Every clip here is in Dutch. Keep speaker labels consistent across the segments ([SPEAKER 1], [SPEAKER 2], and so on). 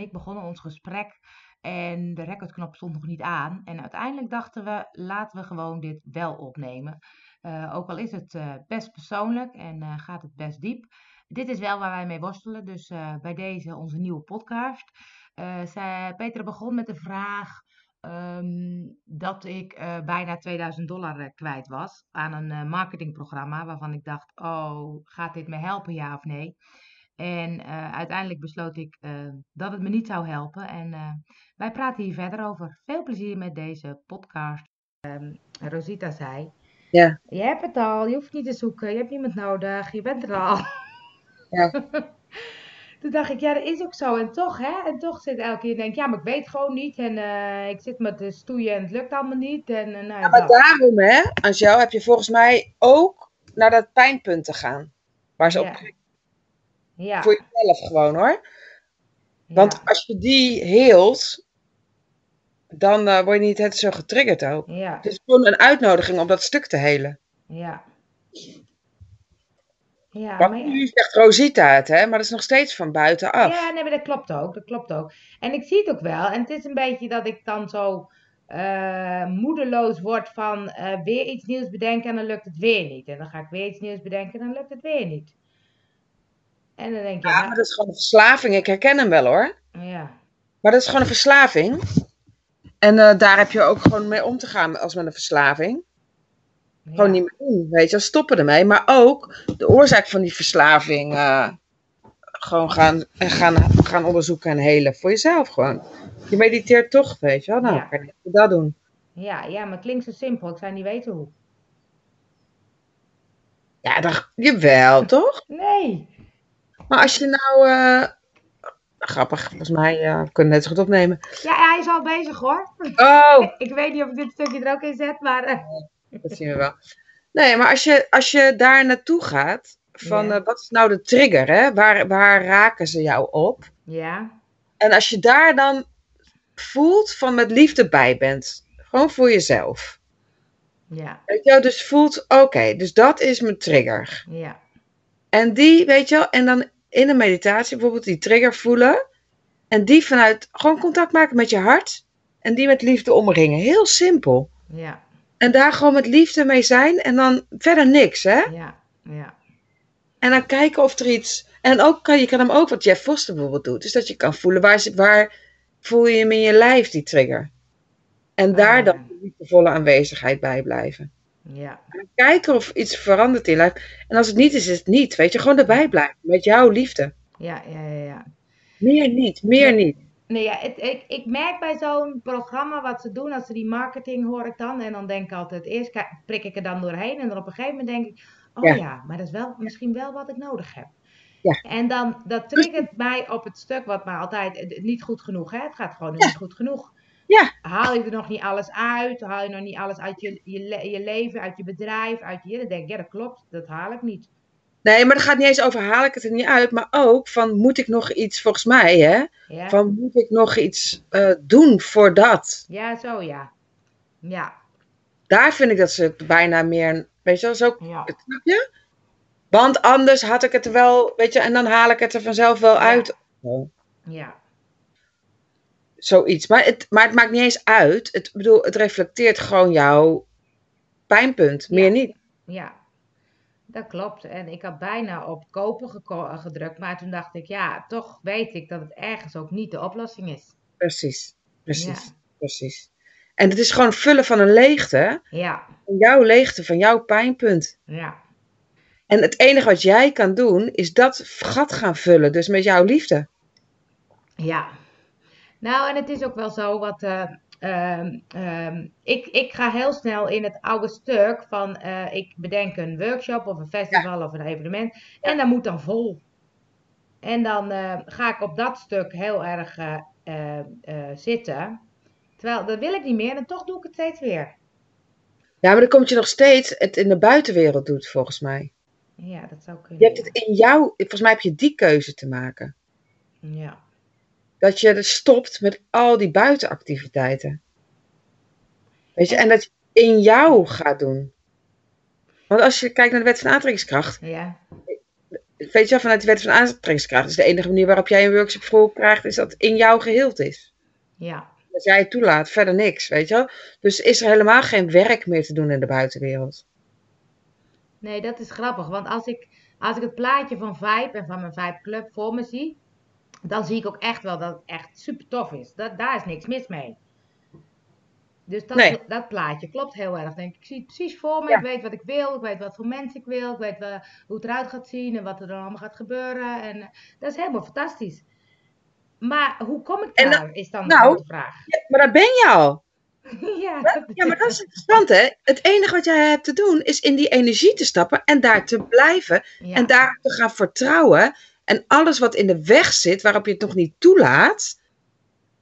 [SPEAKER 1] ik begonnen ons gesprek en de recordknop stond nog niet aan. En uiteindelijk dachten we, laten we gewoon dit wel opnemen. Eh, ook al is het eh, best persoonlijk en eh, gaat het best diep. Dit is wel waar wij mee worstelen, dus eh, bij deze onze nieuwe podcast. Eh zij, Petra begon met de vraag ehm, dat ik eh, bijna 2000 dollar eh, kwijt was aan een eh, marketingprogramma waarvan ik dacht, oh, gaat dit me helpen, ja of nee? En eh, uiteindelijk besloot ik eh, dat het me niet zou helpen. En eh, wij praten hier verder over. Veel plezier met deze podcast. Ehm, Rosita zei,
[SPEAKER 2] Ja.
[SPEAKER 1] je hebt het al, je hoeft niet te zoeken, je hebt niemand nodig, je bent er al.
[SPEAKER 2] Ja.
[SPEAKER 1] Toen dacht ik, ja, dat is ook zo. En toch, hè? En toch zit elke keer, denk ik, ja, maar ik weet gewoon niet. En eh, ik zit met de stoeien en het lukt allemaal niet. En, eh, nou,
[SPEAKER 2] Ja, maar
[SPEAKER 1] dat.
[SPEAKER 2] daarom, hè, aan jou heb je volgens mij ook naar dat pijnpunt te gaan. Waar ze
[SPEAKER 1] Ja.
[SPEAKER 2] op kijken.
[SPEAKER 1] ja,
[SPEAKER 2] Voor jezelf gewoon hoor.
[SPEAKER 1] ja.
[SPEAKER 2] Want als je die heelt, dan eh, word je niet het zo getriggerd ook.
[SPEAKER 1] ja,
[SPEAKER 2] Het is gewoon een uitnodiging om dat stuk te helen.
[SPEAKER 1] ja. Ja,
[SPEAKER 2] Want
[SPEAKER 1] maar ja.
[SPEAKER 2] nu zegt Rosita het, hè, maar dat is nog steeds van buitenaf.
[SPEAKER 1] Ja, nee, maar dat klopt ook. Dat klopt ook. En ik zie het ook wel. En het is een beetje dat ik dan zo eh, moedeloos word van eh, weer iets nieuws bedenken en dan lukt het weer niet. En dan ga ik weer iets nieuws bedenken en dan lukt het weer niet. En dan denk je,
[SPEAKER 2] Ja, maar dat is gewoon een verslaving. Ik herken hem wel hoor.
[SPEAKER 1] nou, ja,
[SPEAKER 2] Maar dat is gewoon een verslaving. En eh, daar heb je ook gewoon mee om te gaan als met een verslaving. Gewoon
[SPEAKER 1] ja,
[SPEAKER 2] niet meer doen, weet je wel. Stoppen ermee. Maar ook de oorzaak van die verslaving eh, gewoon gaan, en gaan, gaan onderzoeken en helen. Voor jezelf gewoon. Je mediteert toch, weet je wel. Nou,
[SPEAKER 1] Ja.
[SPEAKER 2] kan je dat doen.
[SPEAKER 1] ja, ja, maar het klinkt zo simpel. Ik zou niet weten hoe.
[SPEAKER 2] Ja, dan, jawel, toch?
[SPEAKER 1] Nee.
[SPEAKER 2] Maar als je nou... eh, grappig, volgens mij eh, we kunnen het net zo goed opnemen.
[SPEAKER 1] Ja, hij is al bezig hoor.
[SPEAKER 2] Oh,
[SPEAKER 1] Ik weet niet of ik dit stukje er ook in zet, maar... eh,
[SPEAKER 2] dat zien we wel. Nee, maar als je, als je daar naartoe gaat... Van
[SPEAKER 1] Ja.
[SPEAKER 2] eh, wat is nou de trigger, hè? Waar, waar raken ze jou op?
[SPEAKER 1] ja,
[SPEAKER 2] En als je daar dan voelt van met liefde bij bent. Gewoon voor jezelf.
[SPEAKER 1] ja,
[SPEAKER 2] Weet je wel, dus voelt, oké, dus dat is mijn trigger.
[SPEAKER 1] ja,
[SPEAKER 2] En die, weet je wel, en dan in een meditatie bijvoorbeeld die trigger voelen. En die vanuit, gewoon contact maken met je hart. En die met liefde omringen. Heel simpel.
[SPEAKER 1] ja,
[SPEAKER 2] En daar gewoon met liefde mee zijn. En dan verder niks, hè.
[SPEAKER 1] ja, ja,
[SPEAKER 2] En dan kijken of er iets. En ook kan, je kan hem ook, wat Jeff Foster bijvoorbeeld doet, is dat je kan voelen waar, zit- waar voel je hem in je lijf, die trigger. En daar
[SPEAKER 1] Ah.
[SPEAKER 2] dan de liefdevolle aanwezigheid bij blijven.
[SPEAKER 1] ja,
[SPEAKER 2] En kijken of iets verandert in je lijf. En als het niet is, is het niet. Weet je, gewoon erbij blijven. Met jouw liefde.
[SPEAKER 1] ja, ja, ja, ja.
[SPEAKER 2] Meer niet, meer niet.
[SPEAKER 1] Nee, ja, het, ik, ik merk bij zo'n programma wat ze doen, als ze die marketing hoor ik dan. En dan denk ik altijd, eerst ki- prik ik er dan doorheen. En dan op een gegeven moment denk ik, oh ja,
[SPEAKER 2] Ja.
[SPEAKER 1] maar dat is wel, misschien wel wat ik nodig heb.
[SPEAKER 2] Ja.
[SPEAKER 1] En dan, dat triggert mij op het stuk wat mij altijd, eh, niet goed genoeg hè. Het gaat gewoon niet goed genoeg.
[SPEAKER 2] Ja.
[SPEAKER 1] Haal je er nog niet alles uit? Haal je nog niet alles uit je, je, le- je leven, uit je bedrijf, uit je... Dan denk ik, ja dat klopt, dat haal ik niet.
[SPEAKER 2] Nee, maar dat gaat niet eens over haal ik het er niet uit. Maar ook van moet ik nog iets, volgens mij, hè?
[SPEAKER 1] Ja,
[SPEAKER 2] Van moet ik nog iets eh, doen voor dat?
[SPEAKER 1] ja zo ja. Ja,
[SPEAKER 2] Daar vind ik dat ze het bijna meer. Weet je, wel, zo
[SPEAKER 1] ja.
[SPEAKER 2] Snap je? Want anders had ik het er wel, weet je, en dan haal ik het er vanzelf wel
[SPEAKER 1] Ja.
[SPEAKER 2] uit.
[SPEAKER 1] Ja,
[SPEAKER 2] Zoiets. Maar het, maar het maakt niet eens uit. Het, ik bedoel, het reflecteert gewoon jouw pijnpunt.
[SPEAKER 1] Ja.
[SPEAKER 2] Meer niet.
[SPEAKER 1] Ja, dat klopt. En ik had bijna op kopen geko- eh, gedrukt, maar toen dacht ik, ja, toch weet ik dat het ergens ook niet de oplossing is.
[SPEAKER 2] Precies. Precies.
[SPEAKER 1] Ja.
[SPEAKER 2] Precies. En het is gewoon vullen van een leegte.
[SPEAKER 1] Ja,
[SPEAKER 2] Van jouw leegte, van jouw pijnpunt.
[SPEAKER 1] ja,
[SPEAKER 2] En het enige wat jij kan doen, is dat gat gaan vullen. Dus met jouw liefde.
[SPEAKER 1] ja. Nou, en het is ook wel zo wat. eh, ehm, ehm, ik, ik ga heel snel in het oude stuk van eh, ik bedenk een workshop of een festival of een evenement en dat moet dan vol. En dan eh, ga ik op dat stuk heel erg eh, eh, eh, zitten. Terwijl dat wil ik niet meer en toch doe ik het steeds weer.
[SPEAKER 2] Ja, maar dan komt je nog steeds het in de buitenwereld doet, volgens mij.
[SPEAKER 1] Ja, dat zou kunnen.
[SPEAKER 2] Je hebt
[SPEAKER 1] ja.
[SPEAKER 2] het in jou, volgens mij heb je die keuze te maken.
[SPEAKER 1] Ja,
[SPEAKER 2] dat je er stopt met al die buitenactiviteiten. Weet je, en dat je in jou gaat doen. Want als je kijkt naar de wet van aantrekkingskracht,
[SPEAKER 1] ja,
[SPEAKER 2] weet je wel, vanuit de wet van aantrekkingskracht. Dus de enige manier waarop jij een workshop voor krijgt, is dat het in jou geheeld is.
[SPEAKER 1] Ja,
[SPEAKER 2] Dat jij het toelaat, verder niks, weet je wel. Dus is er helemaal geen werk meer te doen in de buitenwereld.
[SPEAKER 1] nee, dat is grappig. Want als ik, als ik het plaatje van Vibe en van mijn Vibe Club voor me zie, dan zie ik ook echt wel dat het echt super tof is. Dat, daar is niks mis mee. Dus dat,
[SPEAKER 2] Nee.
[SPEAKER 1] dat plaatje klopt heel erg. Denk ik. ik zie het precies voor me.
[SPEAKER 2] Ja.
[SPEAKER 1] Ik weet wat ik wil. Ik weet wat voor mensen ik wil. Ik weet eh, hoe het eruit gaat zien en wat er dan allemaal gaat gebeuren. En eh, dat is helemaal fantastisch. Maar hoe kom ik
[SPEAKER 2] En
[SPEAKER 1] daar?
[SPEAKER 2] dat-
[SPEAKER 1] is dan de
[SPEAKER 2] nou,
[SPEAKER 1] grote vraag.
[SPEAKER 2] Ja, maar daar ben je al.
[SPEAKER 1] ja, dat-
[SPEAKER 2] Ja, maar dat is interessant, hè. Het enige wat jij hebt te doen, is in die energie te stappen en daar te blijven.
[SPEAKER 1] ja.
[SPEAKER 2] En daar te gaan vertrouwen. En alles wat in de weg zit, waarop je het nog niet toelaat,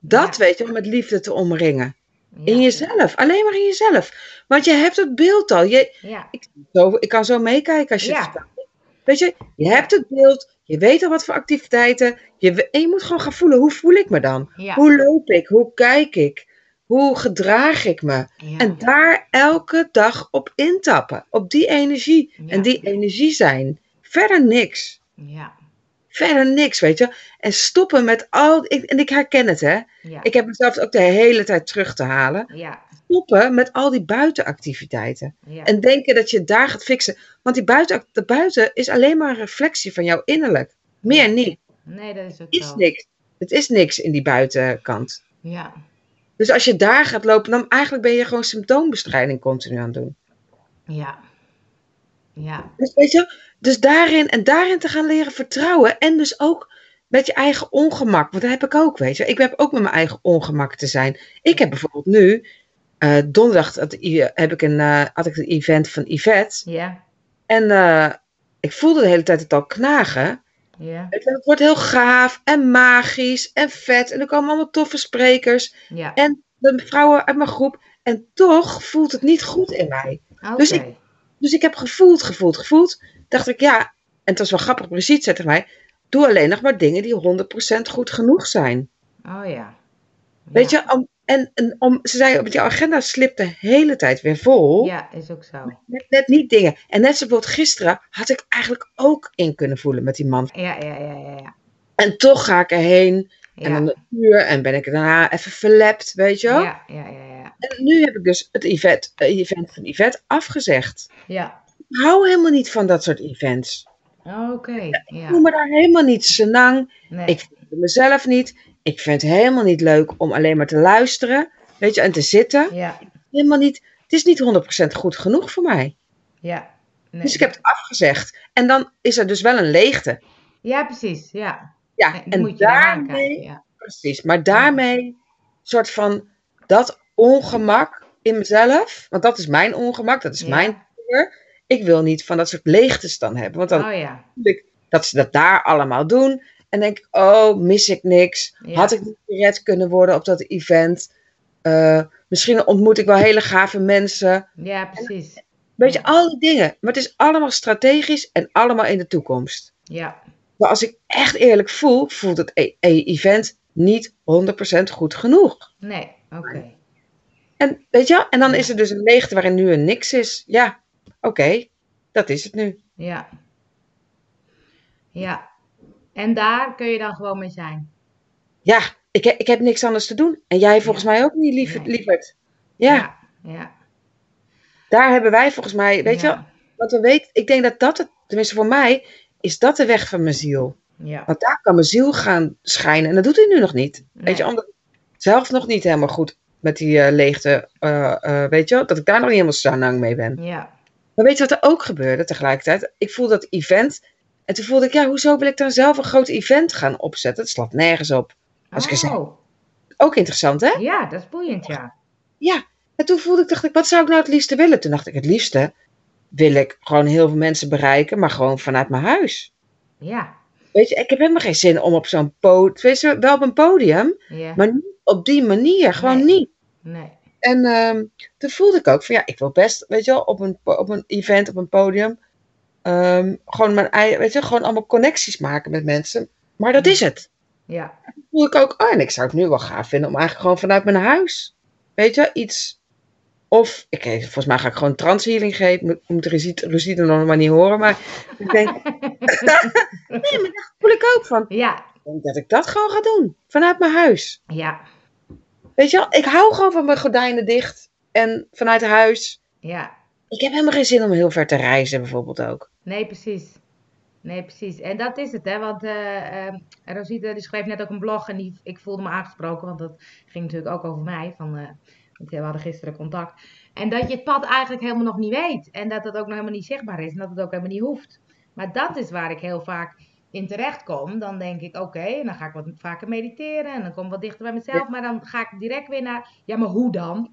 [SPEAKER 2] dat
[SPEAKER 1] Ja.
[SPEAKER 2] weet je om met liefde te omringen.
[SPEAKER 1] Ja,
[SPEAKER 2] In jezelf, alleen maar in jezelf. Want je hebt het beeld al. Je,
[SPEAKER 1] Ja,
[SPEAKER 2] zo, ik kan zo meekijken als je het
[SPEAKER 1] Ja.
[SPEAKER 2] vertelt. Weet je, je hebt het beeld, je weet al wat voor activiteiten. Je, we- en je moet gewoon gaan voelen, hoe voel ik me dan?
[SPEAKER 1] ja,
[SPEAKER 2] Hoe loop ik? Hoe kijk ik? Hoe gedraag ik me?
[SPEAKER 1] ja.
[SPEAKER 2] En daar elke dag op intappen. Op die energie.
[SPEAKER 1] Ja.
[SPEAKER 2] En die energie zijn. Verder niks.
[SPEAKER 1] Ja,
[SPEAKER 2] Verder niks, weet je. En stoppen met al. Ik, en ik herken het, hè.
[SPEAKER 1] ja,
[SPEAKER 2] Ik heb mezelf ook de hele tijd terug te halen.
[SPEAKER 1] ja,
[SPEAKER 2] Stoppen met al die buitenactiviteiten.
[SPEAKER 1] ja,
[SPEAKER 2] En denken dat je het daar gaat fixen. Want die buiten, de buiten is alleen maar een reflectie van jouw innerlijk. Meer niet.
[SPEAKER 1] nee, dat is ook
[SPEAKER 2] Is
[SPEAKER 1] zo.
[SPEAKER 2] niks. Het is niks in die buitenkant.
[SPEAKER 1] Ja,
[SPEAKER 2] Dus als je daar gaat lopen, dan eigenlijk ben je gewoon symptoombestrijding continu aan het doen.
[SPEAKER 1] ja, ja,
[SPEAKER 2] Dus, weet je, dus daarin en daarin te gaan leren vertrouwen. En dus ook met je eigen ongemak. Want dat heb ik ook, weet je. Ik heb ook met mijn eigen ongemak te zijn. Ik heb bijvoorbeeld nu, eh, donderdag had, i- heb ik een, eh, had ik een event van Yvette.
[SPEAKER 1] ja,
[SPEAKER 2] En eh, ik voelde de hele tijd het al knagen.
[SPEAKER 1] ja,
[SPEAKER 2] Ik dacht, Het wordt heel gaaf en magisch en vet. En er komen allemaal toffe sprekers.
[SPEAKER 1] ja.
[SPEAKER 2] En- De vrouwen uit mijn groep. En toch voelt het niet goed in mij. dus ik-
[SPEAKER 1] Oké.
[SPEAKER 2] Dus ik heb gevoeld, gevoeld, gevoeld. Dacht ik, ja, en het was wel grappig, Brigitte zei tegen mij... Doe alleen nog maar dingen die 100% goed genoeg zijn.
[SPEAKER 1] Oh ja.
[SPEAKER 2] Weet
[SPEAKER 1] Ja.
[SPEAKER 2] je, om, en, en om, ze zei, op jouw agenda slipt de hele tijd weer vol.
[SPEAKER 1] Ja, is ook zo.
[SPEAKER 2] Net, net niet dingen. En net zoals bijvoorbeeld gisteren had ik eigenlijk ook in kunnen voelen met die man.
[SPEAKER 1] Ja, ja, ja, ja, ja.
[SPEAKER 2] En toch ga ik erheen. En
[SPEAKER 1] Ja,
[SPEAKER 2] dan een uur en ben ik daarna even verlept, weet je wel.
[SPEAKER 1] ja, ja, ja, ja.
[SPEAKER 2] En nu heb ik dus het event, eh, event van Yvette afgezegd.
[SPEAKER 1] Ja,
[SPEAKER 2] Ik hou helemaal niet van dat soort events.
[SPEAKER 1] oké.
[SPEAKER 2] Ik voel
[SPEAKER 1] Ja,
[SPEAKER 2] me daar helemaal niet senang.
[SPEAKER 1] nee.
[SPEAKER 2] Ik vind het mezelf niet. Ik vind het helemaal niet leuk om alleen maar te luisteren. Weet je, en te zitten.
[SPEAKER 1] Ja,
[SPEAKER 2] Helemaal niet. Het is niet 100% goed genoeg voor mij.
[SPEAKER 1] ja. Nee.
[SPEAKER 2] Dus ik heb het afgezegd. En dan is er dus wel een leegte.
[SPEAKER 1] Ja, precies. Ja.
[SPEAKER 2] Ja,
[SPEAKER 1] Nee,
[SPEAKER 2] en
[SPEAKER 1] moet je daaraan kijken.
[SPEAKER 2] daarmee,
[SPEAKER 1] Ja.
[SPEAKER 2] precies, maar daarmee, soort van dat ongemak in mezelf. Want dat is mijn ongemak, dat is
[SPEAKER 1] Ja.
[SPEAKER 2] mijn vuur. Ik wil niet van dat soort leegtes dan hebben. Want dan
[SPEAKER 1] Oh ja.
[SPEAKER 2] voel ik dat ze dat daar allemaal doen. En denk ik, oh, mis ik niks.
[SPEAKER 1] Ja.
[SPEAKER 2] Had ik niet gered kunnen worden op dat event? Eh, misschien ontmoet ik wel hele gave mensen.
[SPEAKER 1] Ja, precies.
[SPEAKER 2] Weet je,
[SPEAKER 1] Ja.
[SPEAKER 2] al die dingen. Maar het is allemaal strategisch en allemaal in de toekomst.
[SPEAKER 1] Ja,
[SPEAKER 2] Maar als ik echt eerlijk voel, voelt het e- e- event niet 100% goed genoeg.
[SPEAKER 1] nee. Oké.
[SPEAKER 2] En, weet je, wel? en dan
[SPEAKER 1] Ja.
[SPEAKER 2] is er dus een leegte waarin nu een niks is. Ja, oké, dat is het nu.
[SPEAKER 1] Ja. Ja. En daar kun je dan gewoon mee zijn.
[SPEAKER 2] Ja, ik, he- ik heb niks anders te doen. En jij volgens mij ook niet, lief,
[SPEAKER 1] Nee.
[SPEAKER 2] lieverd. ja.
[SPEAKER 1] Ja. Ja.
[SPEAKER 2] Daar hebben wij volgens mij, weet je, wel,
[SPEAKER 1] ja.
[SPEAKER 2] want we weten, ik denk dat dat het, tenminste voor mij, is dat de weg van mijn ziel.
[SPEAKER 1] Ja.
[SPEAKER 2] Want daar kan mijn ziel gaan schijnen en dat doet hij nu nog niet. Weet je,
[SPEAKER 1] Nee.
[SPEAKER 2] omdat ik zelf nog niet helemaal goed met die eh, leegte, eh, eh, weet je, wel, dat ik daar nog niet helemaal sanang mee ben.
[SPEAKER 1] Ja.
[SPEAKER 2] Maar weet je wat er ook gebeurde tegelijkertijd? Ik voelde dat event en toen voelde ik, ja, hoezo wil ik dan zelf een groot event gaan opzetten? Het slaat nergens op. Als ik er zelf-
[SPEAKER 1] Oh,
[SPEAKER 2] Ook interessant, hè?
[SPEAKER 1] ja, dat is boeiend, ja.
[SPEAKER 2] En toen voelde ik, dacht ik, wat zou ik nou het liefste willen? Toen dacht ik, het liefste wil ik gewoon heel veel mensen bereiken, maar gewoon vanuit mijn huis.
[SPEAKER 1] Ja.
[SPEAKER 2] Weet je, ik heb helemaal geen zin om op zo'n podium, wel op een podium,
[SPEAKER 1] Ja.
[SPEAKER 2] maar niet op die manier, gewoon
[SPEAKER 1] Nee.
[SPEAKER 2] niet.
[SPEAKER 1] Nee.
[SPEAKER 2] En ehm, toen voelde ik ook van, ja, ik wil best, weet je wel, op een, po- op een event, op een podium, ehm, gewoon mijn eigen, weet je, gewoon allemaal connecties maken met mensen. Maar dat is het.
[SPEAKER 1] Ja.
[SPEAKER 2] Toen voelde ik ook, oh, en ik zou het nu wel gaaf vinden om eigenlijk gewoon vanuit mijn huis, weet je, iets Of, ik, eh, volgens mij ga ik gewoon transhealing geven. Ik moet Rosita, Rosita nog maar niet horen. Maar ik denk, nee, maar daar voel ik ook van.
[SPEAKER 1] Ja,
[SPEAKER 2] Ik denk dat ik dat gewoon ga doen. Vanuit mijn huis.
[SPEAKER 1] ja,
[SPEAKER 2] Weet je wel, ik hou gewoon van mijn gordijnen dicht. En vanuit huis.
[SPEAKER 1] ja.
[SPEAKER 2] Ik heb helemaal geen zin om heel ver te reizen bijvoorbeeld ook.
[SPEAKER 1] Nee, precies. Nee, precies. En dat is het, hè? Want eh, eh, Rosita die schreef net ook een blog en die, ik voelde me aangesproken, want dat ging natuurlijk ook over mij. Van, eh, want we hadden gisteren contact. En dat je het pad eigenlijk helemaal nog niet weet. En dat het ook nog helemaal niet zichtbaar is en dat het ook helemaal niet hoeft. Maar dat is waar ik heel vaak in terecht kom. Dan denk ik, oké, en dan ga ik wat vaker mediteren en dan kom ik wat dichter bij mezelf. Maar dan ga ik direct weer naar, ja, maar hoe dan?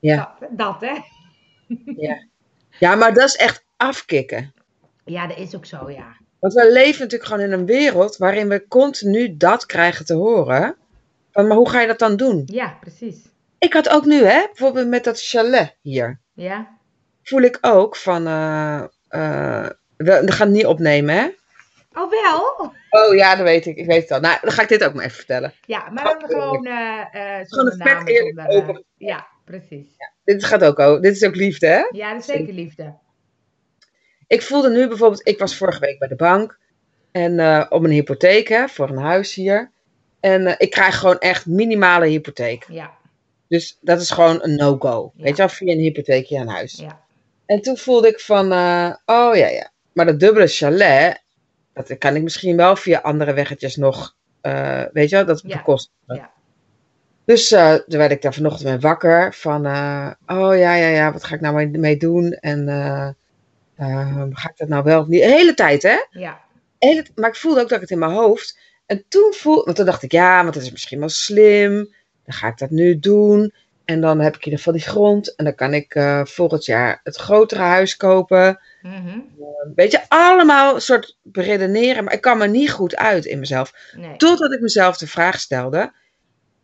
[SPEAKER 2] Ja.
[SPEAKER 1] Dat, dat hè?
[SPEAKER 2] Ja, maar dat is echt afkicken.
[SPEAKER 1] Ja, dat is ook zo, ja.
[SPEAKER 2] Want we leven natuurlijk gewoon in een wereld waarin we continu dat krijgen te horen. Van, maar hoe ga je dat dan doen?
[SPEAKER 1] Ja, precies.
[SPEAKER 2] Ik had ook nu, hè, bijvoorbeeld met dat chalet hier.
[SPEAKER 1] Ja,
[SPEAKER 2] Voel ik ook van, eh eh, we, we gaan het niet opnemen, hè?
[SPEAKER 1] oh wel?
[SPEAKER 2] Oh ja, dat weet ik. Ik weet het al. Nou, dan ga ik dit ook maar even vertellen.
[SPEAKER 1] Ja, maar dan gewoon eh eh
[SPEAKER 2] Gewoon
[SPEAKER 1] zonder
[SPEAKER 2] een vet
[SPEAKER 1] namen.
[SPEAKER 2] eerlijk
[SPEAKER 1] zonder, eh,
[SPEAKER 2] open.
[SPEAKER 1] ja, precies.
[SPEAKER 2] Dit gaat ook over. Dit is ook liefde, hè?
[SPEAKER 1] Ja, dat is zeker liefde.
[SPEAKER 2] Ik voelde nu bijvoorbeeld, ik was vorige week bij de bank. En eh, om een hypotheek, hè, voor een huis hier. En eh, ik krijg gewoon echt minimale hypotheek.
[SPEAKER 1] Ja,
[SPEAKER 2] Dus dat is gewoon een no-go.
[SPEAKER 1] Ja.
[SPEAKER 2] Weet je wel, via een hypotheek je een huis.
[SPEAKER 1] ja,
[SPEAKER 2] En toen voelde ik van, eh, oh ja, ja. Maar dat dubbele chalet, dat kan ik misschien wel via andere weggetjes nog, eh, weet je wel, dat
[SPEAKER 1] Ja,
[SPEAKER 2] bekost.
[SPEAKER 1] ja.
[SPEAKER 2] Dus eh, toen werd ik daar vanochtend mee wakker van, eh, oh ja, ja, ja, wat ga ik nou mee- mee doen? En eh, eh, ga ik dat nou wel of niet? De hele tijd, hè?
[SPEAKER 1] ja,
[SPEAKER 2] De hele- maar ik voelde ook dat ik het in mijn hoofd. En toen voelde, want toen dacht ik, ja, want dat is misschien wel slim. Dan ga ik dat nu doen. En dan heb ik in ieder geval die grond. En dan kan ik eh, volgend jaar het grotere huis kopen.
[SPEAKER 1] mhm,
[SPEAKER 2] Weet je, allemaal een soort beredeneren, maar ik kwam er niet goed uit in mezelf.
[SPEAKER 1] nee,
[SPEAKER 2] Totdat ik mezelf de vraag stelde: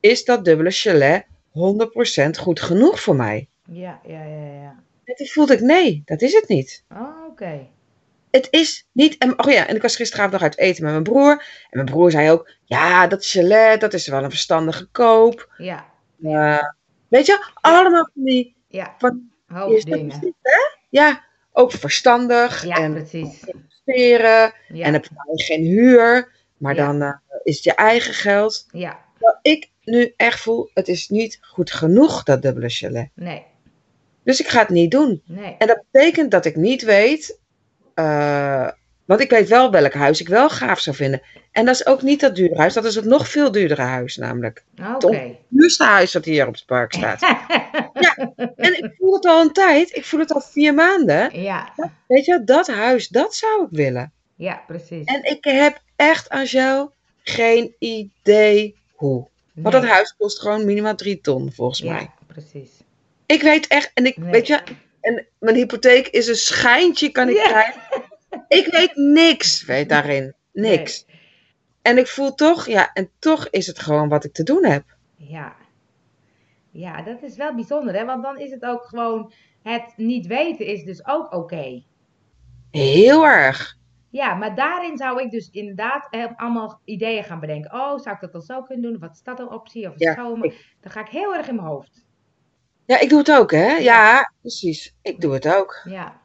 [SPEAKER 2] is dat dubbele chalet 100% goed genoeg voor mij?
[SPEAKER 1] ja, ja, ja, ja.
[SPEAKER 2] En toen voelde ik: nee, dat is het niet.
[SPEAKER 1] Oh, oké.
[SPEAKER 2] Het is niet. En, oh ja, en ik was gisteravond nog uit eten met mijn broer. En mijn broer zei ook: ja, dat chalet, dat is wel een verstandige koop.
[SPEAKER 1] Ja,
[SPEAKER 2] Eh, weet je, allemaal van die.
[SPEAKER 1] ja.
[SPEAKER 2] Van-
[SPEAKER 1] Hoofddingen.
[SPEAKER 2] Ja, ook verstandig
[SPEAKER 1] Ja,
[SPEAKER 2] en
[SPEAKER 1] precies.
[SPEAKER 2] investeren.
[SPEAKER 1] Ja,
[SPEAKER 2] En dan betaal je nou geen huur, maar
[SPEAKER 1] Ja.
[SPEAKER 2] dan eh, is het je eigen geld.
[SPEAKER 1] ja,
[SPEAKER 2] Terwijl ik nu echt voel, het is niet goed genoeg, dat dubbele chalet.
[SPEAKER 1] nee,
[SPEAKER 2] Dus ik ga het niet doen.
[SPEAKER 1] nee,
[SPEAKER 2] En dat betekent dat ik niet weet, eh, want ik weet wel welk huis ik wel gaaf zou vinden. En dat is ook niet dat dure huis, dat is het nog veel duurdere huis namelijk.
[SPEAKER 1] oké.
[SPEAKER 2] Tom. Het duurste huis dat hier op het park staat. En ik voel het al een tijd, ik voel het al vier maanden.
[SPEAKER 1] ja,
[SPEAKER 2] Weet je, dat huis, dat zou ik willen.
[SPEAKER 1] ja, precies.
[SPEAKER 2] En ik heb echt, Angel, geen idee hoe. Want dat
[SPEAKER 1] Nee.
[SPEAKER 2] huis kost gewoon minimaal drie ton, volgens mij.
[SPEAKER 1] Ja, precies.
[SPEAKER 2] Ik weet echt, en ik
[SPEAKER 1] Nee.
[SPEAKER 2] weet je, en mijn hypotheek is een schijntje, kan ik
[SPEAKER 1] Ja.
[SPEAKER 2] krijgen. Ik weet niks, weet daarin. Niks. En ik voel toch, ja, en toch is het gewoon wat ik te doen heb.
[SPEAKER 1] Ja. Ja, dat is wel bijzonder, hè? Want dan is het ook gewoon, het niet weten is dus ook oké.
[SPEAKER 2] Heel erg.
[SPEAKER 1] Ja, maar daarin zou ik dus inderdaad eh, allemaal ideeën gaan bedenken. Oh, zou ik dat dan zo kunnen doen? Of wat is dat een optie? Of is
[SPEAKER 2] Ja,
[SPEAKER 1] het zo? Maar Dan ga ik heel erg in mijn hoofd.
[SPEAKER 2] Ja, ik doe het ook, hè? Ja, precies. Ik doe het ook.
[SPEAKER 1] Ja,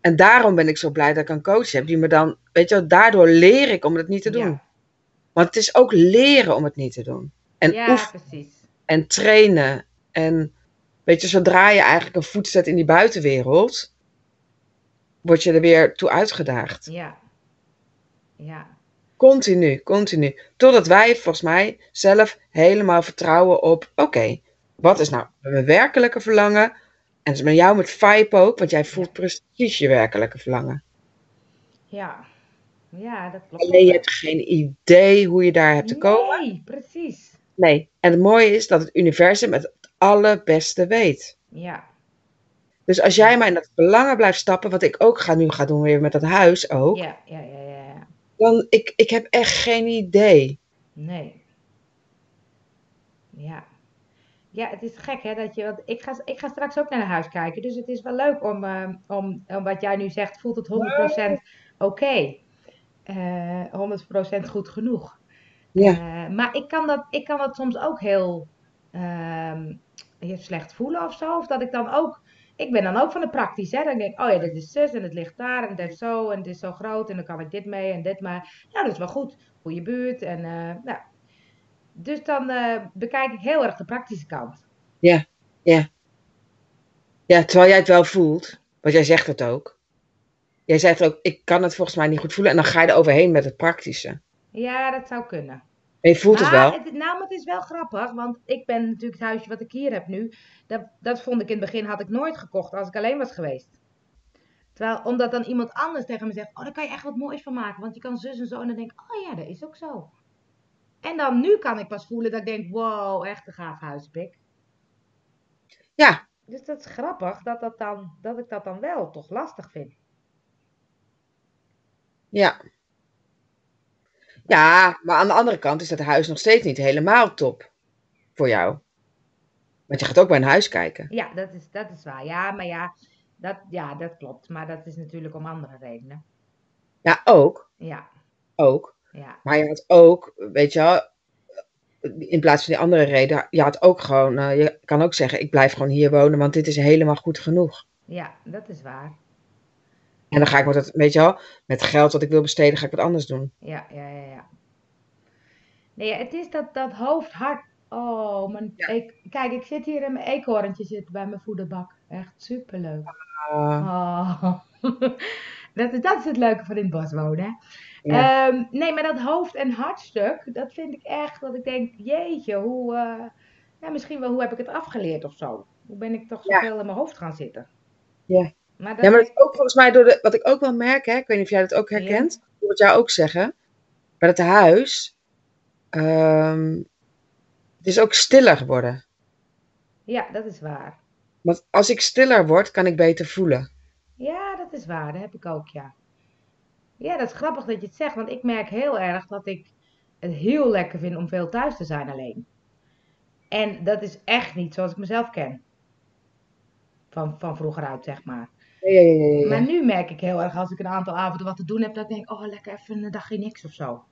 [SPEAKER 2] En daarom ben ik zo blij dat ik een coach heb die me dan, weet je wel, daardoor leer ik om het niet te doen.
[SPEAKER 1] Ja.
[SPEAKER 2] Want het is ook leren om het niet te doen. En
[SPEAKER 1] ja
[SPEAKER 2] oefenen.
[SPEAKER 1] precies.
[SPEAKER 2] en trainen. En weet je, zodra je eigenlijk een voet zet in die buitenwereld, word je er weer toe uitgedaagd.
[SPEAKER 1] Ja. Ja.
[SPEAKER 2] Continu, continu. Totdat wij volgens mij zelf helemaal vertrouwen op, oké, wat is nou mijn werkelijke verlangen? En dat is met jou met vibe ook, want jij voelt precies je werkelijke verlangen.
[SPEAKER 1] Ja. Ja, dat klopt.
[SPEAKER 2] Alleen je hebt geen idee hoe je daar hebt te komen.
[SPEAKER 1] Nee, precies.
[SPEAKER 2] Nee. En het mooie is dat het universum het allerbeste weet.
[SPEAKER 1] Ja.
[SPEAKER 2] Dus als jij mij in dat belangen blijft stappen, wat ik ook ga, nu ga doen weer met dat huis ook,
[SPEAKER 1] Ja, ja, ja, ja. ja.
[SPEAKER 2] dan ik, ik heb echt geen idee.
[SPEAKER 1] Nee. Ja. Ja, het is gek hè, dat je, want ik ga, ik ga straks ook naar een huis kijken, dus het is wel leuk om, eh, om, om wat jij nu zegt, voelt het 100% oké. Eh, 100% goed genoeg.
[SPEAKER 2] Ja,
[SPEAKER 1] Eh, maar ik kan, dat, ik kan dat soms ook heel ehm, je slecht voelen of zo. Of dat ik dan ook, ik ben dan ook van de praktisch. Hè? Dan denk ik, oh ja, dit is zus en het ligt daar en dat is zo en het is zo groot en dan kan ik dit mee en dit maar. Nou, dat is wel goed. Goede buurt en eh, nou. Dus dan eh, bekijk ik heel erg de praktische kant.
[SPEAKER 2] Ja, terwijl jij het wel voelt, want jij zegt het ook. Jij zegt ook, ik kan het volgens mij niet goed voelen. En dan ga je er overheen met het praktische.
[SPEAKER 1] Ja, dat zou kunnen.
[SPEAKER 2] En je voelt het
[SPEAKER 1] Maar
[SPEAKER 2] wel.
[SPEAKER 1] Het, nou, maar het is wel grappig, want ik ben natuurlijk het huisje wat ik hier heb nu. Dat, dat vond ik in het begin had ik nooit gekocht als ik alleen was geweest. Terwijl, omdat dan iemand anders tegen me zegt, oh, daar kan je echt wat moois van maken, want je kan zus en zo. En dan denk ik, oh ja, dat is ook zo. En dan nu kan ik pas voelen dat ik denk, wow, echt een gaaf huis heb ik.
[SPEAKER 2] Ja.
[SPEAKER 1] Dus dat is grappig dat, dat, dan, dat ik dat dan wel toch lastig vind.
[SPEAKER 2] Ja. Ja, maar aan de andere kant is dat huis nog steeds niet helemaal top voor jou. Want je gaat ook bij een huis kijken.
[SPEAKER 1] Ja, dat is, dat is waar. Ja, maar ja dat, ja, dat klopt. Maar dat is natuurlijk om andere redenen.
[SPEAKER 2] Ja, ook.
[SPEAKER 1] Ja,
[SPEAKER 2] Ook.
[SPEAKER 1] ja.
[SPEAKER 2] Maar je had ook, weet je wel, in plaats van die andere reden, je had ook gewoon, eh, je kan ook zeggen, ik blijf gewoon hier wonen, want dit is helemaal goed genoeg.
[SPEAKER 1] Ja, dat is waar.
[SPEAKER 2] En dan ga ik met dat, weet je wel, met geld wat ik wil besteden, ga ik wat anders doen.
[SPEAKER 1] Ja, ja, ja, ja. Nee, ja, het is dat, dat hoofd hard. Oh, mijn,
[SPEAKER 2] Ja.
[SPEAKER 1] ik, kijk, ik zit hier in mijn eekhoorntje zit bij mijn voederbak. Echt superleuk.
[SPEAKER 2] Eh,
[SPEAKER 1] Oh. Dat, is- dat is het leuke van in het bos wonen. hè.
[SPEAKER 2] Ja.
[SPEAKER 1] Ehm, nee, maar dat hoofd- en hartstuk, dat vind ik echt dat ik denk, jeetje, hoe, eh, ja, misschien wel hoe heb ik het afgeleerd of zo? Hoe ben ik toch
[SPEAKER 2] Ja.
[SPEAKER 1] zoveel in mijn hoofd gaan zitten?
[SPEAKER 2] Ja.
[SPEAKER 1] Maar dat
[SPEAKER 2] ja, maar
[SPEAKER 1] is-
[SPEAKER 2] dat is ook volgens mij door de, wat ik ook wel merk, hè, ik weet niet of jij dat ook herkent, ik hoor het jou ook zeggen, maar dat huis, ehm, het is ook stiller geworden.
[SPEAKER 1] ja, dat is waar.
[SPEAKER 2] Want als ik stiller word, kan ik beter voelen.
[SPEAKER 1] Ja, dat is waar. Dat heb ik ook, ja. Ja, dat is grappig dat je het zegt, want ik merk heel erg dat ik het heel lekker vind om veel thuis te zijn alleen. En dat is echt niet zoals ik mezelf ken. Van, van vroeger uit, zeg maar.
[SPEAKER 2] Ja, ja, ja, ja, ja.
[SPEAKER 1] Maar nu merk ik heel erg als ik een aantal avonden wat te doen heb, dat ik denk, oh, lekker even een dagje niks of zo.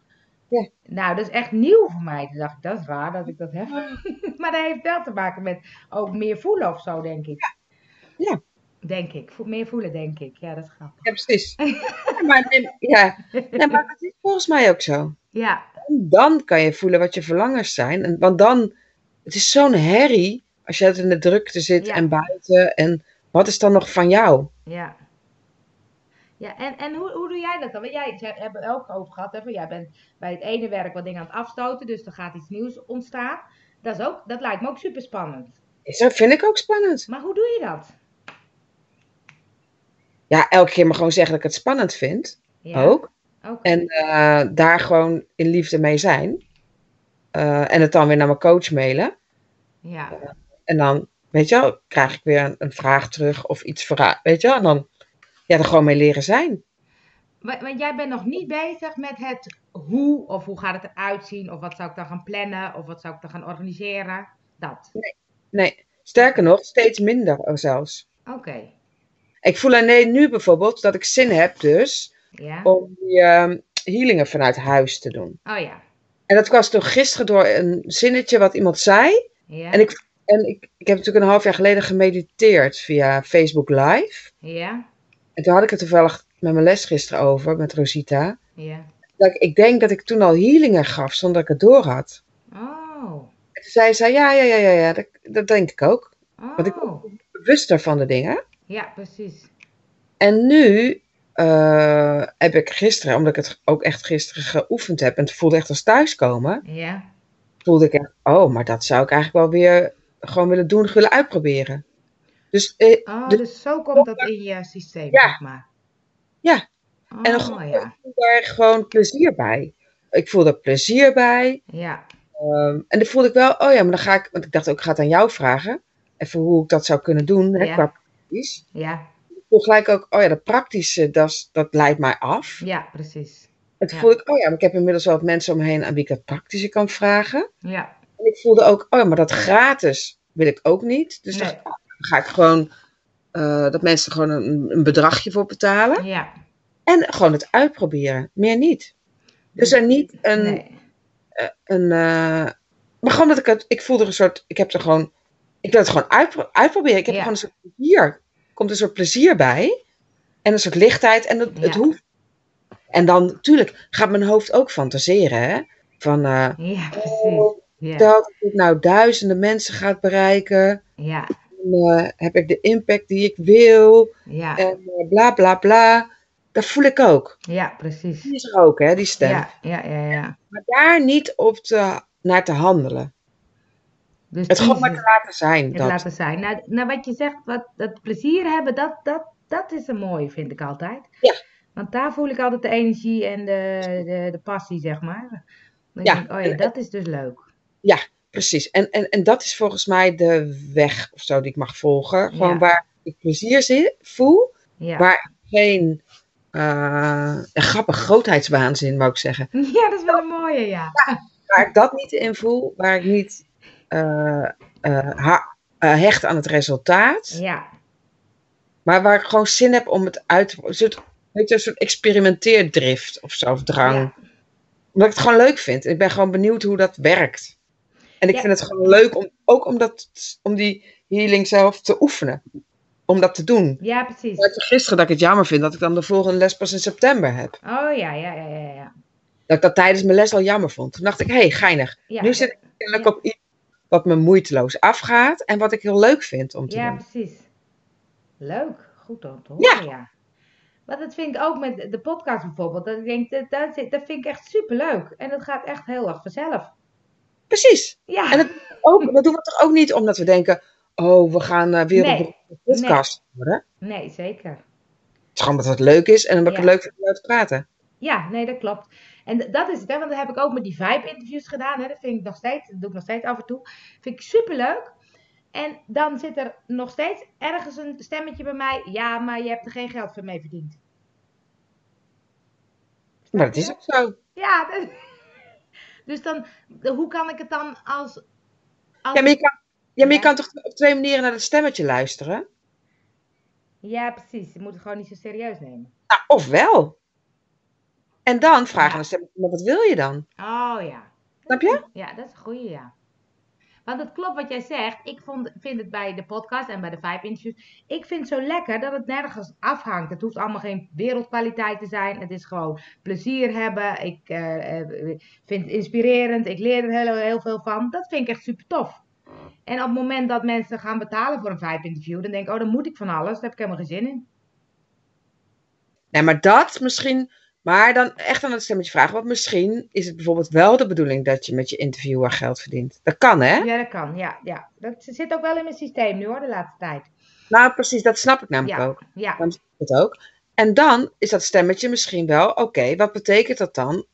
[SPEAKER 2] Ja.
[SPEAKER 1] Nou, dat is echt nieuw voor mij. Toen dacht ik, dat is raar dat ik dat heb. maar dat heeft wel te maken met ook meer voelen of zo, denk ik.
[SPEAKER 2] Ja.
[SPEAKER 1] Denk ik. Vo- Meer voelen, denk ik. Ja, dat is grappig.
[SPEAKER 2] Ja, precies. Ja, maar, nee, ja. Nee, maar dat is volgens mij ook zo.
[SPEAKER 1] Ja,
[SPEAKER 2] En dan kan je voelen wat je verlangens zijn. En, want dan, het is zo'n herrie als je het in de drukte zit
[SPEAKER 1] Ja.
[SPEAKER 2] en buiten. En wat is dan nog van jou?
[SPEAKER 1] ja. Ja, en, en hoe, hoe doe jij dat dan? Want jij jij hebben we ook over gehad, hè? van jij bent bij het ene werk wat dingen aan het afstoten, dus er gaat iets nieuws ontstaan. Dat, is ook, dat lijkt me ook super spannend.
[SPEAKER 2] Is Dat vind ik ook spannend.
[SPEAKER 1] Maar hoe doe je dat?
[SPEAKER 2] Ja, elke keer maar gewoon zeggen dat ik het spannend vind.
[SPEAKER 1] Ja,
[SPEAKER 2] Ook.
[SPEAKER 1] ook.
[SPEAKER 2] En eh, daar gewoon in liefde mee zijn. Eh, en het dan weer naar mijn coach mailen.
[SPEAKER 1] ja,
[SPEAKER 2] En dan, weet je wel, krijg ik weer een, een vraag terug of iets verra- Weet je wel, en dan ja, er gewoon mee leren zijn.
[SPEAKER 1] Wa- want jij bent nog niet bezig met het hoe, of hoe gaat het eruit zien, of wat zou ik dan gaan plannen, of wat zou ik dan gaan organiseren. Dat.
[SPEAKER 2] Nee, sterker nog, steeds minder zelfs.
[SPEAKER 1] Oké,
[SPEAKER 2] Ik voel alleen nu bijvoorbeeld dat ik zin heb dus
[SPEAKER 1] ja.
[SPEAKER 2] om die ehm, healingen vanuit huis te doen.
[SPEAKER 1] Oh ja,
[SPEAKER 2] En dat was toch gisteren door een zinnetje wat iemand zei.
[SPEAKER 1] ja,
[SPEAKER 2] En ik, en ik, ik heb natuurlijk een half jaar geleden gemediteerd via Facebook Live.
[SPEAKER 1] ja,
[SPEAKER 2] En toen had ik het toevallig met mijn les gisteren over, met Rosita.
[SPEAKER 1] ja.
[SPEAKER 2] Dat ik, ik denk dat ik toen al healingen gaf zonder dat ik het door had.
[SPEAKER 1] Oh,
[SPEAKER 2] En toen zei ze, ja, ja, ja, ja, ja dat, dat denk ik ook. ik-
[SPEAKER 1] oh.
[SPEAKER 2] Bewuster van de dingen.
[SPEAKER 1] Ja, precies.
[SPEAKER 2] En nu eh, heb ik gisteren, omdat ik het ook echt gisteren geoefend heb en het voelde echt als thuiskomen,
[SPEAKER 1] Ja.
[SPEAKER 2] voelde ik echt, oh, maar dat zou ik eigenlijk wel weer gewoon willen doen, willen uitproberen. Dus eh,
[SPEAKER 1] Oh,
[SPEAKER 2] Dus-
[SPEAKER 1] dus zo komt dat in je systeem,
[SPEAKER 2] Ja.
[SPEAKER 1] zeg maar.
[SPEAKER 2] Ja.
[SPEAKER 1] Oh,
[SPEAKER 2] En een goede-
[SPEAKER 1] ja.
[SPEAKER 2] ik voel daar gewoon plezier bij. Ik voel er plezier bij.
[SPEAKER 1] Ja.
[SPEAKER 2] ehm, en dan voelde ik wel, oh ja, maar dan ga ik, want ik dacht ook, ik ga het aan jou vragen. Even hoe ik dat zou kunnen doen, hè,
[SPEAKER 1] Ja.
[SPEAKER 2] qua praktisch.
[SPEAKER 1] Ja.
[SPEAKER 2] Ik voel gelijk ook, oh ja, dat praktische, dat, is- dat leidt mij af.
[SPEAKER 1] Ja, precies.
[SPEAKER 2] En toen
[SPEAKER 1] Ja.
[SPEAKER 2] voelde ik, oh ja, maar ik heb inmiddels wel wat mensen omheen aan wie ik dat praktische kan vragen.
[SPEAKER 1] Ja.
[SPEAKER 2] En ik voelde ook, oh ja, maar dat gratis wil ik ook niet. Dus
[SPEAKER 1] Nee.
[SPEAKER 2] dan ga- ga ik gewoon, eh, dat mensen er gewoon een, een bedragje voor betalen.
[SPEAKER 1] Ja.
[SPEAKER 2] En gewoon het uitproberen, meer niet. Dus er niet een,
[SPEAKER 1] Nee.
[SPEAKER 2] een eh, maar gewoon dat ik het, ik voelde er een soort, ik heb er gewoon Ik wil het gewoon uitpro- uitproberen. Ik heb
[SPEAKER 1] Ja.
[SPEAKER 2] gewoon een soort plezier. Komt een soort plezier bij. En een soort lichtheid. En dat, het
[SPEAKER 1] Ja.
[SPEAKER 2] hoeft. En dan, natuurlijk, gaat mijn hoofd ook fantaseren. Hè? Van, eh,
[SPEAKER 1] Ja, precies.
[SPEAKER 2] oh,
[SPEAKER 1] Mm, Ja,
[SPEAKER 2] stel dat ik nou duizenden mensen gaat bereiken.
[SPEAKER 1] ja,
[SPEAKER 2] En, eh, heb ik de impact die ik wil.
[SPEAKER 1] ja,
[SPEAKER 2] En eh, bla, bla, bla. Dat voel ik ook.
[SPEAKER 1] ja, precies.
[SPEAKER 2] Die is er ook, hè, die stem.
[SPEAKER 1] Ja, ja, ja, ja.
[SPEAKER 2] Maar daar niet op te, naar te handelen.
[SPEAKER 1] Dus
[SPEAKER 2] Het gewoon
[SPEAKER 1] kiezen.
[SPEAKER 2] maar te laten zijn.
[SPEAKER 1] Het
[SPEAKER 2] dat.
[SPEAKER 1] laten zijn. Nou, nou, wat je zegt, wat, dat plezier hebben, dat, dat, dat is een mooie, vind ik altijd.
[SPEAKER 2] Ja.
[SPEAKER 1] Want daar voel ik altijd de energie en de, de, de passie, zeg maar. Dan
[SPEAKER 2] Ja.
[SPEAKER 1] denk ik, oh ja, dat is dus leuk.
[SPEAKER 2] Precies. En, en, en dat is volgens mij de weg of zo die ik mag volgen. Gewoon
[SPEAKER 1] Ja.
[SPEAKER 2] waar ik plezier zi- voel.
[SPEAKER 1] Ja,
[SPEAKER 2] Waar- Geen eh, een grappig grootheidswaanzin, moet ik zeggen.
[SPEAKER 1] ja dat is wel een mooie, ja.
[SPEAKER 2] Waar ik dat niet in voel. Waar ik niet eh, eh, ha- eh, hecht aan het resultaat.
[SPEAKER 1] Ja,
[SPEAKER 2] Maar waar ik gewoon zin heb om het uit te... Een soort, weet je, een soort experimenteerdrift of zo, of drang.
[SPEAKER 1] ja,
[SPEAKER 2] Omdat ik het gewoon leuk vind. Ik ben gewoon benieuwd hoe dat werkt. En ik
[SPEAKER 1] Ja.
[SPEAKER 2] vind het gewoon leuk om ook om, dat, om die healing zelf te oefenen. Om dat te doen.
[SPEAKER 1] ja, precies.
[SPEAKER 2] Ik zei gisteren dat ik het jammer vind dat ik dan de volgende les pas in september heb.
[SPEAKER 1] Oh ja, ja, ja, ja. ja.
[SPEAKER 2] Dat ik dat tijdens mijn les al jammer vond. Toen dacht ik, hé, hey, geinig.
[SPEAKER 1] ja
[SPEAKER 2] nu zit ik kennelijk op iets wat me moeiteloos afgaat en wat ik heel leuk vind om te
[SPEAKER 1] Ja,
[SPEAKER 2] doen.
[SPEAKER 1] precies. Leuk, goed om te
[SPEAKER 2] Ja.
[SPEAKER 1] horen, ja. Maar dat vind ik ook met de podcast bijvoorbeeld. Dat ik denk, dat, dat, zit- dat vind ik echt superleuk. En dat gaat echt heel erg vanzelf.
[SPEAKER 2] Precies.
[SPEAKER 1] Ja.
[SPEAKER 2] En het- Ook, dat doen we toch ook niet omdat we denken, oh, we gaan eh wereldberoemde
[SPEAKER 1] nee.
[SPEAKER 2] podcast worden.
[SPEAKER 1] Nee, zeker.
[SPEAKER 2] Het is gewoon omdat het leuk is en omdat ik
[SPEAKER 1] Ja.
[SPEAKER 2] het leuk vind om erover te praten.
[SPEAKER 1] Ja, nee, dat klopt. En d- dat is het, hè, want dat heb ik ook met die vibe-interviews gedaan. Hè. Dat vind ik nog steeds, dat doe ik nog steeds af en toe. Vind ik superleuk. En dan zit er nog steeds ergens een stemmetje bij mij. Ja, maar je hebt er geen geld voor mee verdiend.
[SPEAKER 2] Maar dat is ook zo.
[SPEAKER 1] Ja, dat- dus dan, hoe kan ik het dan als... als...
[SPEAKER 2] Ja, maar je kan, ja, maar
[SPEAKER 1] Ja.
[SPEAKER 2] je kan toch op twee manieren naar dat stemmetje luisteren?
[SPEAKER 1] Ja, precies. Je moet het gewoon niet zo serieus nemen.
[SPEAKER 2] Nou, of wel. En dan vragen
[SPEAKER 1] Ja.
[SPEAKER 2] aan de stemmetje, maar wat wil je dan?
[SPEAKER 1] Oh ja.
[SPEAKER 2] Snap je?
[SPEAKER 1] Ja, dat is een goeie, ja. Want het klopt wat jij zegt. Ik vond, vind het bij de podcast en bij de vijf interviews. Ik vind het zo lekker dat het nergens afhangt. Het hoeft allemaal geen wereldkwaliteit te zijn. Het is gewoon plezier hebben. Ik eh, eh, vind het inspirerend. Ik leer er heel, heel veel van. Dat vind ik echt super tof. En op het moment dat mensen gaan betalen voor een vijf interview, dan denk ik, oh, dan moet ik van alles. Daar heb ik helemaal geen zin in.
[SPEAKER 2] Nee, maar dat misschien. Maar dan echt aan het stemmetje vragen. Want misschien is het bijvoorbeeld wel de bedoeling dat je met je interviewer geld verdient. Dat kan, hè?
[SPEAKER 1] Ja, dat kan. Ja, ja. Dat zit ook wel in mijn systeem nu hoor, de laatste tijd.
[SPEAKER 2] Nou, precies, dat snap ik namelijk
[SPEAKER 1] Ja,
[SPEAKER 2] ook.
[SPEAKER 1] ja,
[SPEAKER 2] Dan snap ik het ook. En dan is dat stemmetje misschien wel, oké, wat betekent dat dan?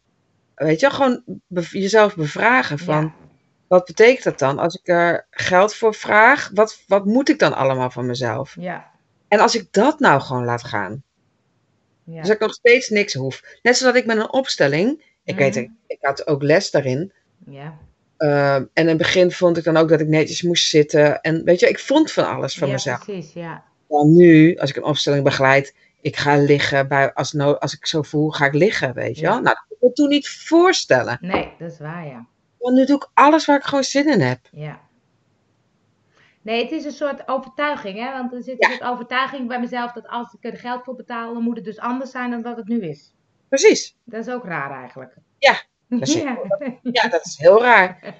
[SPEAKER 2] Weet je, gewoon bev- jezelf bevragen van,
[SPEAKER 1] Ja.
[SPEAKER 2] wat betekent dat dan? Als ik er geld voor vraag, wat, wat moet ik dan allemaal van mezelf?
[SPEAKER 1] ja.
[SPEAKER 2] En als ik dat nou gewoon laat gaan,
[SPEAKER 1] ja.
[SPEAKER 2] dus dat ik nog steeds niks hoef. Net zodat ik met een opstelling, ik weet
[SPEAKER 1] Mhm.
[SPEAKER 2] het, ik had ook les daarin,
[SPEAKER 1] Ja,
[SPEAKER 2] Ehm, en in het begin vond ik dan ook dat ik netjes moest zitten. En weet je, ik vond van alles van
[SPEAKER 1] ja
[SPEAKER 2] mezelf.
[SPEAKER 1] precies, ja.
[SPEAKER 2] Dan nu, als ik een opstelling begeleid, ik ga liggen. Bij, als, no- als ik zo voel, ga ik liggen, weet je
[SPEAKER 1] Ja.
[SPEAKER 2] wel. Nou, dat kon ik me toen niet voorstellen.
[SPEAKER 1] Nee, dat is waar, ja.
[SPEAKER 2] Want nu doe ik alles waar ik gewoon zin in heb.
[SPEAKER 1] ja. Nee, het is een soort overtuiging, hè? Want er zit een soort overtuiging bij mezelf dat als ik er geld voor betaal, dan moet het dus anders zijn dan dat het nu is.
[SPEAKER 2] Precies.
[SPEAKER 1] Dat is ook raar eigenlijk.
[SPEAKER 2] Ja,
[SPEAKER 1] ja.
[SPEAKER 2] dat is-
[SPEAKER 1] ja.
[SPEAKER 2] Ja, dat is heel raar.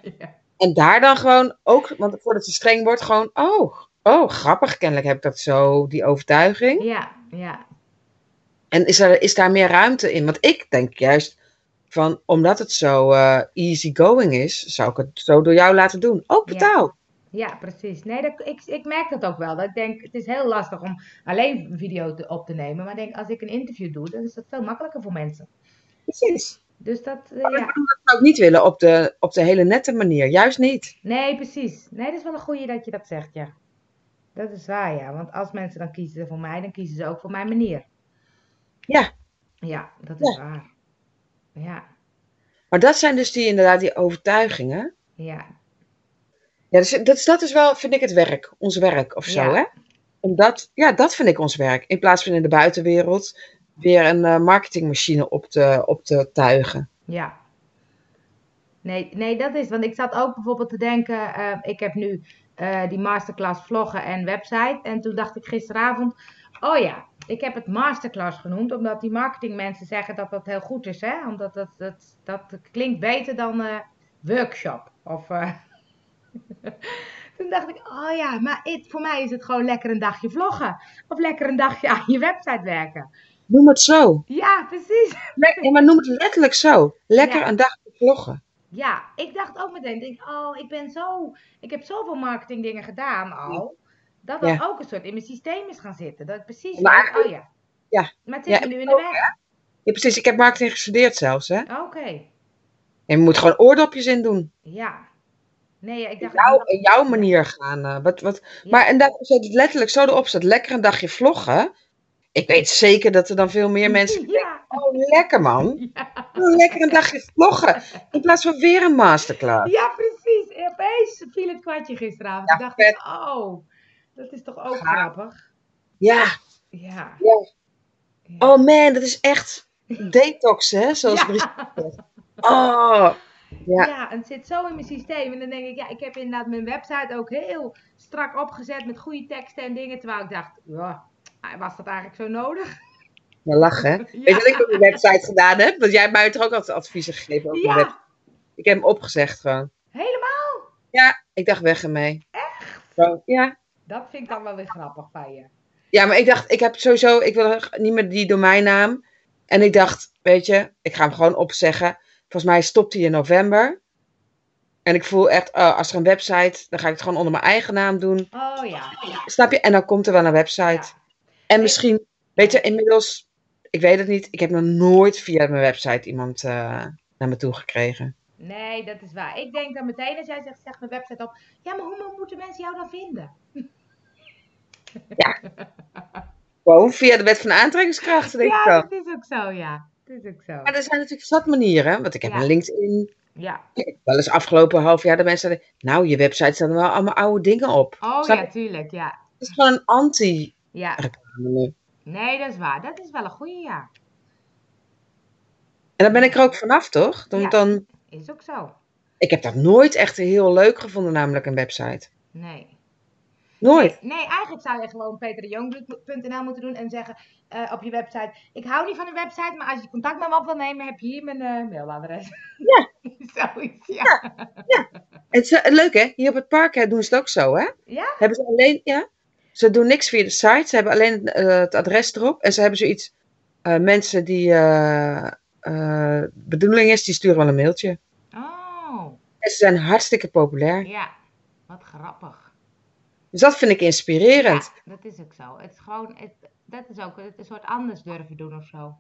[SPEAKER 2] En daar dan gewoon ook, want voordat het streng wordt, gewoon, oh, oh, grappig, kennelijk heb ik dat zo, die overtuiging.
[SPEAKER 1] ja, ja,
[SPEAKER 2] En is, er, is daar meer ruimte in? Want ik denk juist van, omdat het zo easy easygoing is, zou ik het zo door jou laten doen. Ook
[SPEAKER 1] Ja.
[SPEAKER 2] betaald.
[SPEAKER 1] Ja, precies. Nee, dat, ik, ik merk dat ook wel. Dat ik denk, het is heel lastig om alleen een video te, op te nemen. Maar ik denk, als ik een interview doe, dan is dat veel makkelijker voor mensen.
[SPEAKER 2] Precies.
[SPEAKER 1] Dus dat, eh,
[SPEAKER 2] Maar
[SPEAKER 1] ja.
[SPEAKER 2] Oh, Dat zou ik niet willen op de, op de hele nette manier. Juist niet.
[SPEAKER 1] Nee, precies. Nee, dat is wel een goeie dat je dat zegt, ja. Dat is waar, ja. Want als mensen dan kiezen voor mij, dan kiezen ze ook voor mijn manier.
[SPEAKER 2] Ja.
[SPEAKER 1] Ja, dat is waar. Ja,
[SPEAKER 2] Maar dat zijn dus die, inderdaad die overtuigingen.
[SPEAKER 1] ja,
[SPEAKER 2] Ja, dus dat, is- dat is wel, vind ik, het werk. Ons werk of zo,
[SPEAKER 1] Ja.
[SPEAKER 2] hè? Omdat, ja, dat vind ik ons werk. In plaats van in de buitenwereld weer een eh, marketingmachine op te, op te tuigen.
[SPEAKER 1] ja. Nee, nee, dat is. Want ik zat ook bijvoorbeeld te denken, eh, ik heb nu eh, die masterclass vloggen en website. En toen dacht ik gisteravond, oh ja, ik heb het masterclass genoemd, omdat die marketingmensen zeggen dat dat heel goed is, hè? Omdat dat, dat, dat klinkt beter dan eh, workshop. Of, eh, toen dacht ik, oh ja, maar het- voor mij is het gewoon lekker een dagje vloggen. Of lekker een dagje aan je website werken.
[SPEAKER 2] Noem het zo.
[SPEAKER 1] Ja, precies.
[SPEAKER 2] Ja, maar noem het letterlijk zo. Lekker
[SPEAKER 1] Ja.
[SPEAKER 2] een dag vloggen.
[SPEAKER 1] Ja, ik dacht ook meteen, denk, oh, ik ben zo, ik heb zoveel marketingdingen gedaan al, dat dat
[SPEAKER 2] Ja.
[SPEAKER 1] ook een soort in mijn systeem is gaan zitten. Dat ik precies
[SPEAKER 2] Maar-
[SPEAKER 1] weet, oh ja,
[SPEAKER 2] Ja.
[SPEAKER 1] maar het
[SPEAKER 2] Ja,
[SPEAKER 1] zit me nu in de weg.
[SPEAKER 2] Ja, precies. Ik heb marketing gestudeerd zelfs, hè.
[SPEAKER 1] Oké,
[SPEAKER 2] En je moet gewoon oordopjes in doen.
[SPEAKER 1] ja. Nee, ja, ik dacht,
[SPEAKER 2] Jouw,
[SPEAKER 1] ik-
[SPEAKER 2] in jouw manier gaan. eh, wat, wat.
[SPEAKER 1] ja,
[SPEAKER 2] Maar en dat, als je het letterlijk zo erop staat, lekker een dagje vloggen. Ik weet zeker dat er dan veel meer mensen...
[SPEAKER 1] Ja,
[SPEAKER 2] Oh, lekker man.
[SPEAKER 1] ja,
[SPEAKER 2] Oh, lekker een dagje vloggen. In plaats van weer een masterclass.
[SPEAKER 1] ja, precies. En Opeens viel het kwartje gisteravond.
[SPEAKER 2] Ja,
[SPEAKER 1] ik dacht, ik, oh, dat is toch ook
[SPEAKER 2] Gaaf.
[SPEAKER 1] grappig.
[SPEAKER 2] Ja.
[SPEAKER 1] Ja.
[SPEAKER 2] Ja.
[SPEAKER 1] Ja.
[SPEAKER 2] Oh man, dat is echt detox, hè? Zoals
[SPEAKER 1] Ja.
[SPEAKER 2] Brigitte zegt. Oh,
[SPEAKER 1] Ja.
[SPEAKER 2] ja.
[SPEAKER 1] en het zit zo in mijn systeem. En dan denk ik, ja, ik heb inderdaad mijn website ook heel strak opgezet met goede teksten en dingen. Terwijl ik dacht, ja, was dat eigenlijk zo nodig?
[SPEAKER 2] nou lachen, hè? Weet je
[SPEAKER 1] Ja,
[SPEAKER 2] wat ik op je website gedaan heb? Want jij hebt mij toch ook altijd adviezen gegeven over mijn website.
[SPEAKER 1] ja
[SPEAKER 2] Ik heb hem opgezegd gewoon.
[SPEAKER 1] helemaal.
[SPEAKER 2] Ik dacht, weg ermee. Echt? ja.
[SPEAKER 1] Dat vind ik dan wel weer grappig van je.
[SPEAKER 2] Ja, maar ik dacht, ik heb sowieso, ik wil niet meer die domeinnaam. En ik dacht, weet je, ik ga hem gewoon opzeggen. Volgens mij stopt hij in november. En ik voel echt, oh, als er een website, dan ga ik het gewoon onder mijn eigen naam doen.
[SPEAKER 1] Oh ja.
[SPEAKER 2] Snap je? En dan komt er wel een
[SPEAKER 1] ja.
[SPEAKER 2] website. En misschien, weet je, inmiddels, ik weet het niet, ik heb nog nooit via mijn website iemand eh, naar me toe gekregen.
[SPEAKER 1] Nee, dat is waar. Ik denk dan meteen als jij zegt, zeg mijn website op. Ja, maar hoe mo- moeten mensen jou dan vinden?
[SPEAKER 2] Gewoon via de wet van aantrekkingskrachten, denk ik
[SPEAKER 1] Ja,
[SPEAKER 2] wel.
[SPEAKER 1] dat is ook zo, ja. Dat is ook zo.
[SPEAKER 2] Maar er zijn natuurlijk zat manieren, want ik heb
[SPEAKER 1] Ja.
[SPEAKER 2] een LinkedIn.
[SPEAKER 1] Ja.
[SPEAKER 2] Wel eens afgelopen half jaar de mensen zeiden, nou, je website staan wel allemaal oude dingen op.
[SPEAKER 1] Oh
[SPEAKER 2] Snap
[SPEAKER 1] ja,
[SPEAKER 2] je?
[SPEAKER 1] tuurlijk, ja.
[SPEAKER 2] Het is gewoon een anti-reclame.
[SPEAKER 1] Ja, nee, dat is waar. Dat is wel een goede, ja.
[SPEAKER 2] En dan ben ik er ook vanaf, toch? Dan,
[SPEAKER 1] Ja.
[SPEAKER 2] dan,
[SPEAKER 1] Is ook zo.
[SPEAKER 2] ik heb dat nooit echt heel leuk gevonden, namelijk een website.
[SPEAKER 1] Nee.
[SPEAKER 2] Nooit.
[SPEAKER 1] Nee, eigenlijk zou je gewoon peterdejongbloed.nl moeten doen en zeggen eh, op je website: Ik hou niet van een website, maar als je contact met me op wil nemen, heb je hier mijn eh, mailadres.
[SPEAKER 2] Ja.
[SPEAKER 1] Zoiets, ja.
[SPEAKER 2] Het is eh, leuk, hè? Hier op het park hè, doen ze het ook zo, hè?
[SPEAKER 1] Ja?
[SPEAKER 2] Hebben ze alleen, ja. Ze doen niks via de site. Ze hebben alleen eh, het adres erop. En ze hebben zoiets. eh, mensen die. eh, eh, bedoeling is, die sturen wel een mailtje.
[SPEAKER 1] Oh,
[SPEAKER 2] En ze zijn hartstikke populair.
[SPEAKER 1] ja. Wat grappig.
[SPEAKER 2] Dus dat vind ik inspirerend.
[SPEAKER 1] Ja, dat is ook zo. Het is gewoon, het, dat is ook het, een soort anders durven doen of zo.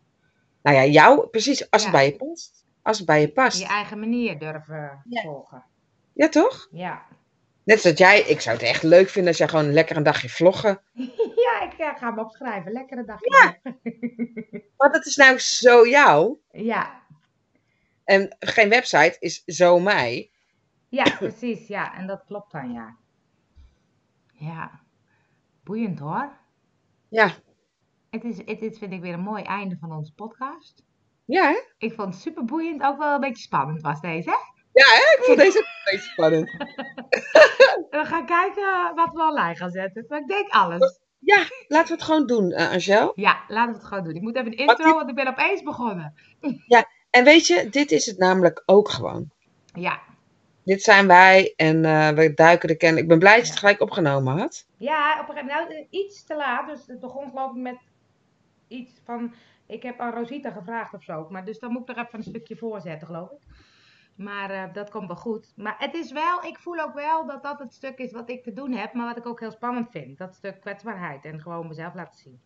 [SPEAKER 2] Nou ja, jou, precies. Als het
[SPEAKER 1] Ja.
[SPEAKER 2] bij je past. Als het bij je past.
[SPEAKER 1] Je
[SPEAKER 2] Ja,
[SPEAKER 1] eigen manier durven
[SPEAKER 2] Ja.
[SPEAKER 1] volgen.
[SPEAKER 2] toch?
[SPEAKER 1] Ja.
[SPEAKER 2] Net zoals jij. Ik zou het echt leuk vinden als jij gewoon lekker een dagje vloggen.
[SPEAKER 1] ja, ik eh, ga hem opschrijven. Lekkere dag.
[SPEAKER 2] Maar dat is nou zo jou.
[SPEAKER 1] ja.
[SPEAKER 2] En geen website is zo mij.
[SPEAKER 1] Ja, precies. Ja, en dat klopt dan, ja. Ja. Boeiend hoor.
[SPEAKER 2] Ja.
[SPEAKER 1] Het is, het, dit vind ik weer een mooi einde van onze podcast.
[SPEAKER 2] Ja, hè?
[SPEAKER 1] Ik vond het super boeiend, ook wel een beetje spannend was deze. Hè?
[SPEAKER 2] Ja, hè? Ik vond deze ook een beetje spannend.
[SPEAKER 1] We gaan kijken wat we online gaan zetten. Maar ik denk alles.
[SPEAKER 2] Ja, laten we het gewoon doen, eh, Angel.
[SPEAKER 1] Ja, laten we het gewoon doen. Ik moet even een
[SPEAKER 2] Wat
[SPEAKER 1] intro, want ik ben opeens begonnen.
[SPEAKER 2] En weet je, dit is het namelijk ook gewoon.
[SPEAKER 1] Ja,
[SPEAKER 2] Dit zijn wij en eh, we duiken de kennis. Ik ben blij dat je het gelijk opgenomen had.
[SPEAKER 1] ja op een gegeven moment nou, eh, iets te laat. Dus het begon geloof ik met iets van... Ik heb aan Rosita gevraagd of zo. Maar dus dan moet ik er even een stukje voor zetten, geloof ik. Maar eh, dat komt wel goed. Maar het is wel, ik voel ook wel dat dat het stuk is wat ik te doen heb. Maar wat ik ook heel spannend vind. Dat stuk kwetsbaarheid en gewoon mezelf laten zien.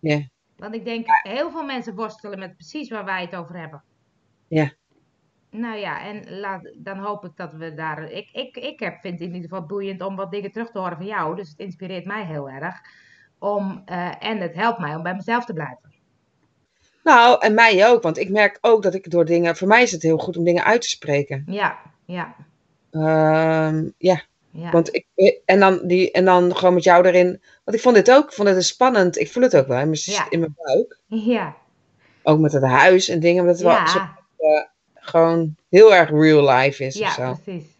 [SPEAKER 2] Ja.
[SPEAKER 1] Want ik denk, heel veel mensen worstelen met precies waar wij het over hebben.
[SPEAKER 2] Ja.
[SPEAKER 1] Nou ja, en laat, dan hoop ik dat we daar. Ik, ik, ik heb, vind het in ieder geval boeiend om wat dingen terug te horen van jou. Dus het inspireert mij heel erg. Om, eh, en het helpt mij om bij mezelf te blijven.
[SPEAKER 2] Nou, en mij ook, want ik merk ook dat ik door dingen. Voor mij is het heel goed om dingen uit te spreken.
[SPEAKER 1] Ja, ja,
[SPEAKER 2] Ehm, ja,
[SPEAKER 1] ja.
[SPEAKER 2] want ik. eh, En dan, die, en dan gewoon met jou erin. Want ik vond dit ook, ik vond het spannend. Ik voel het ook wel in mijn,
[SPEAKER 1] Ja.
[SPEAKER 2] in mijn buik.
[SPEAKER 1] ja,
[SPEAKER 2] Ook met het huis en dingen. Omdat het wel zo-
[SPEAKER 1] ja,
[SPEAKER 2] gewoon heel erg real life is of
[SPEAKER 1] ja
[SPEAKER 2] zo.
[SPEAKER 1] precies.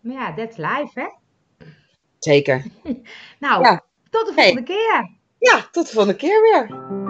[SPEAKER 1] Maar ja, that's life, hè?
[SPEAKER 2] Zeker.
[SPEAKER 1] Nou,
[SPEAKER 2] Ja.
[SPEAKER 1] tot de
[SPEAKER 2] Hey.
[SPEAKER 1] volgende keer.
[SPEAKER 2] Ja, tot de volgende keer weer.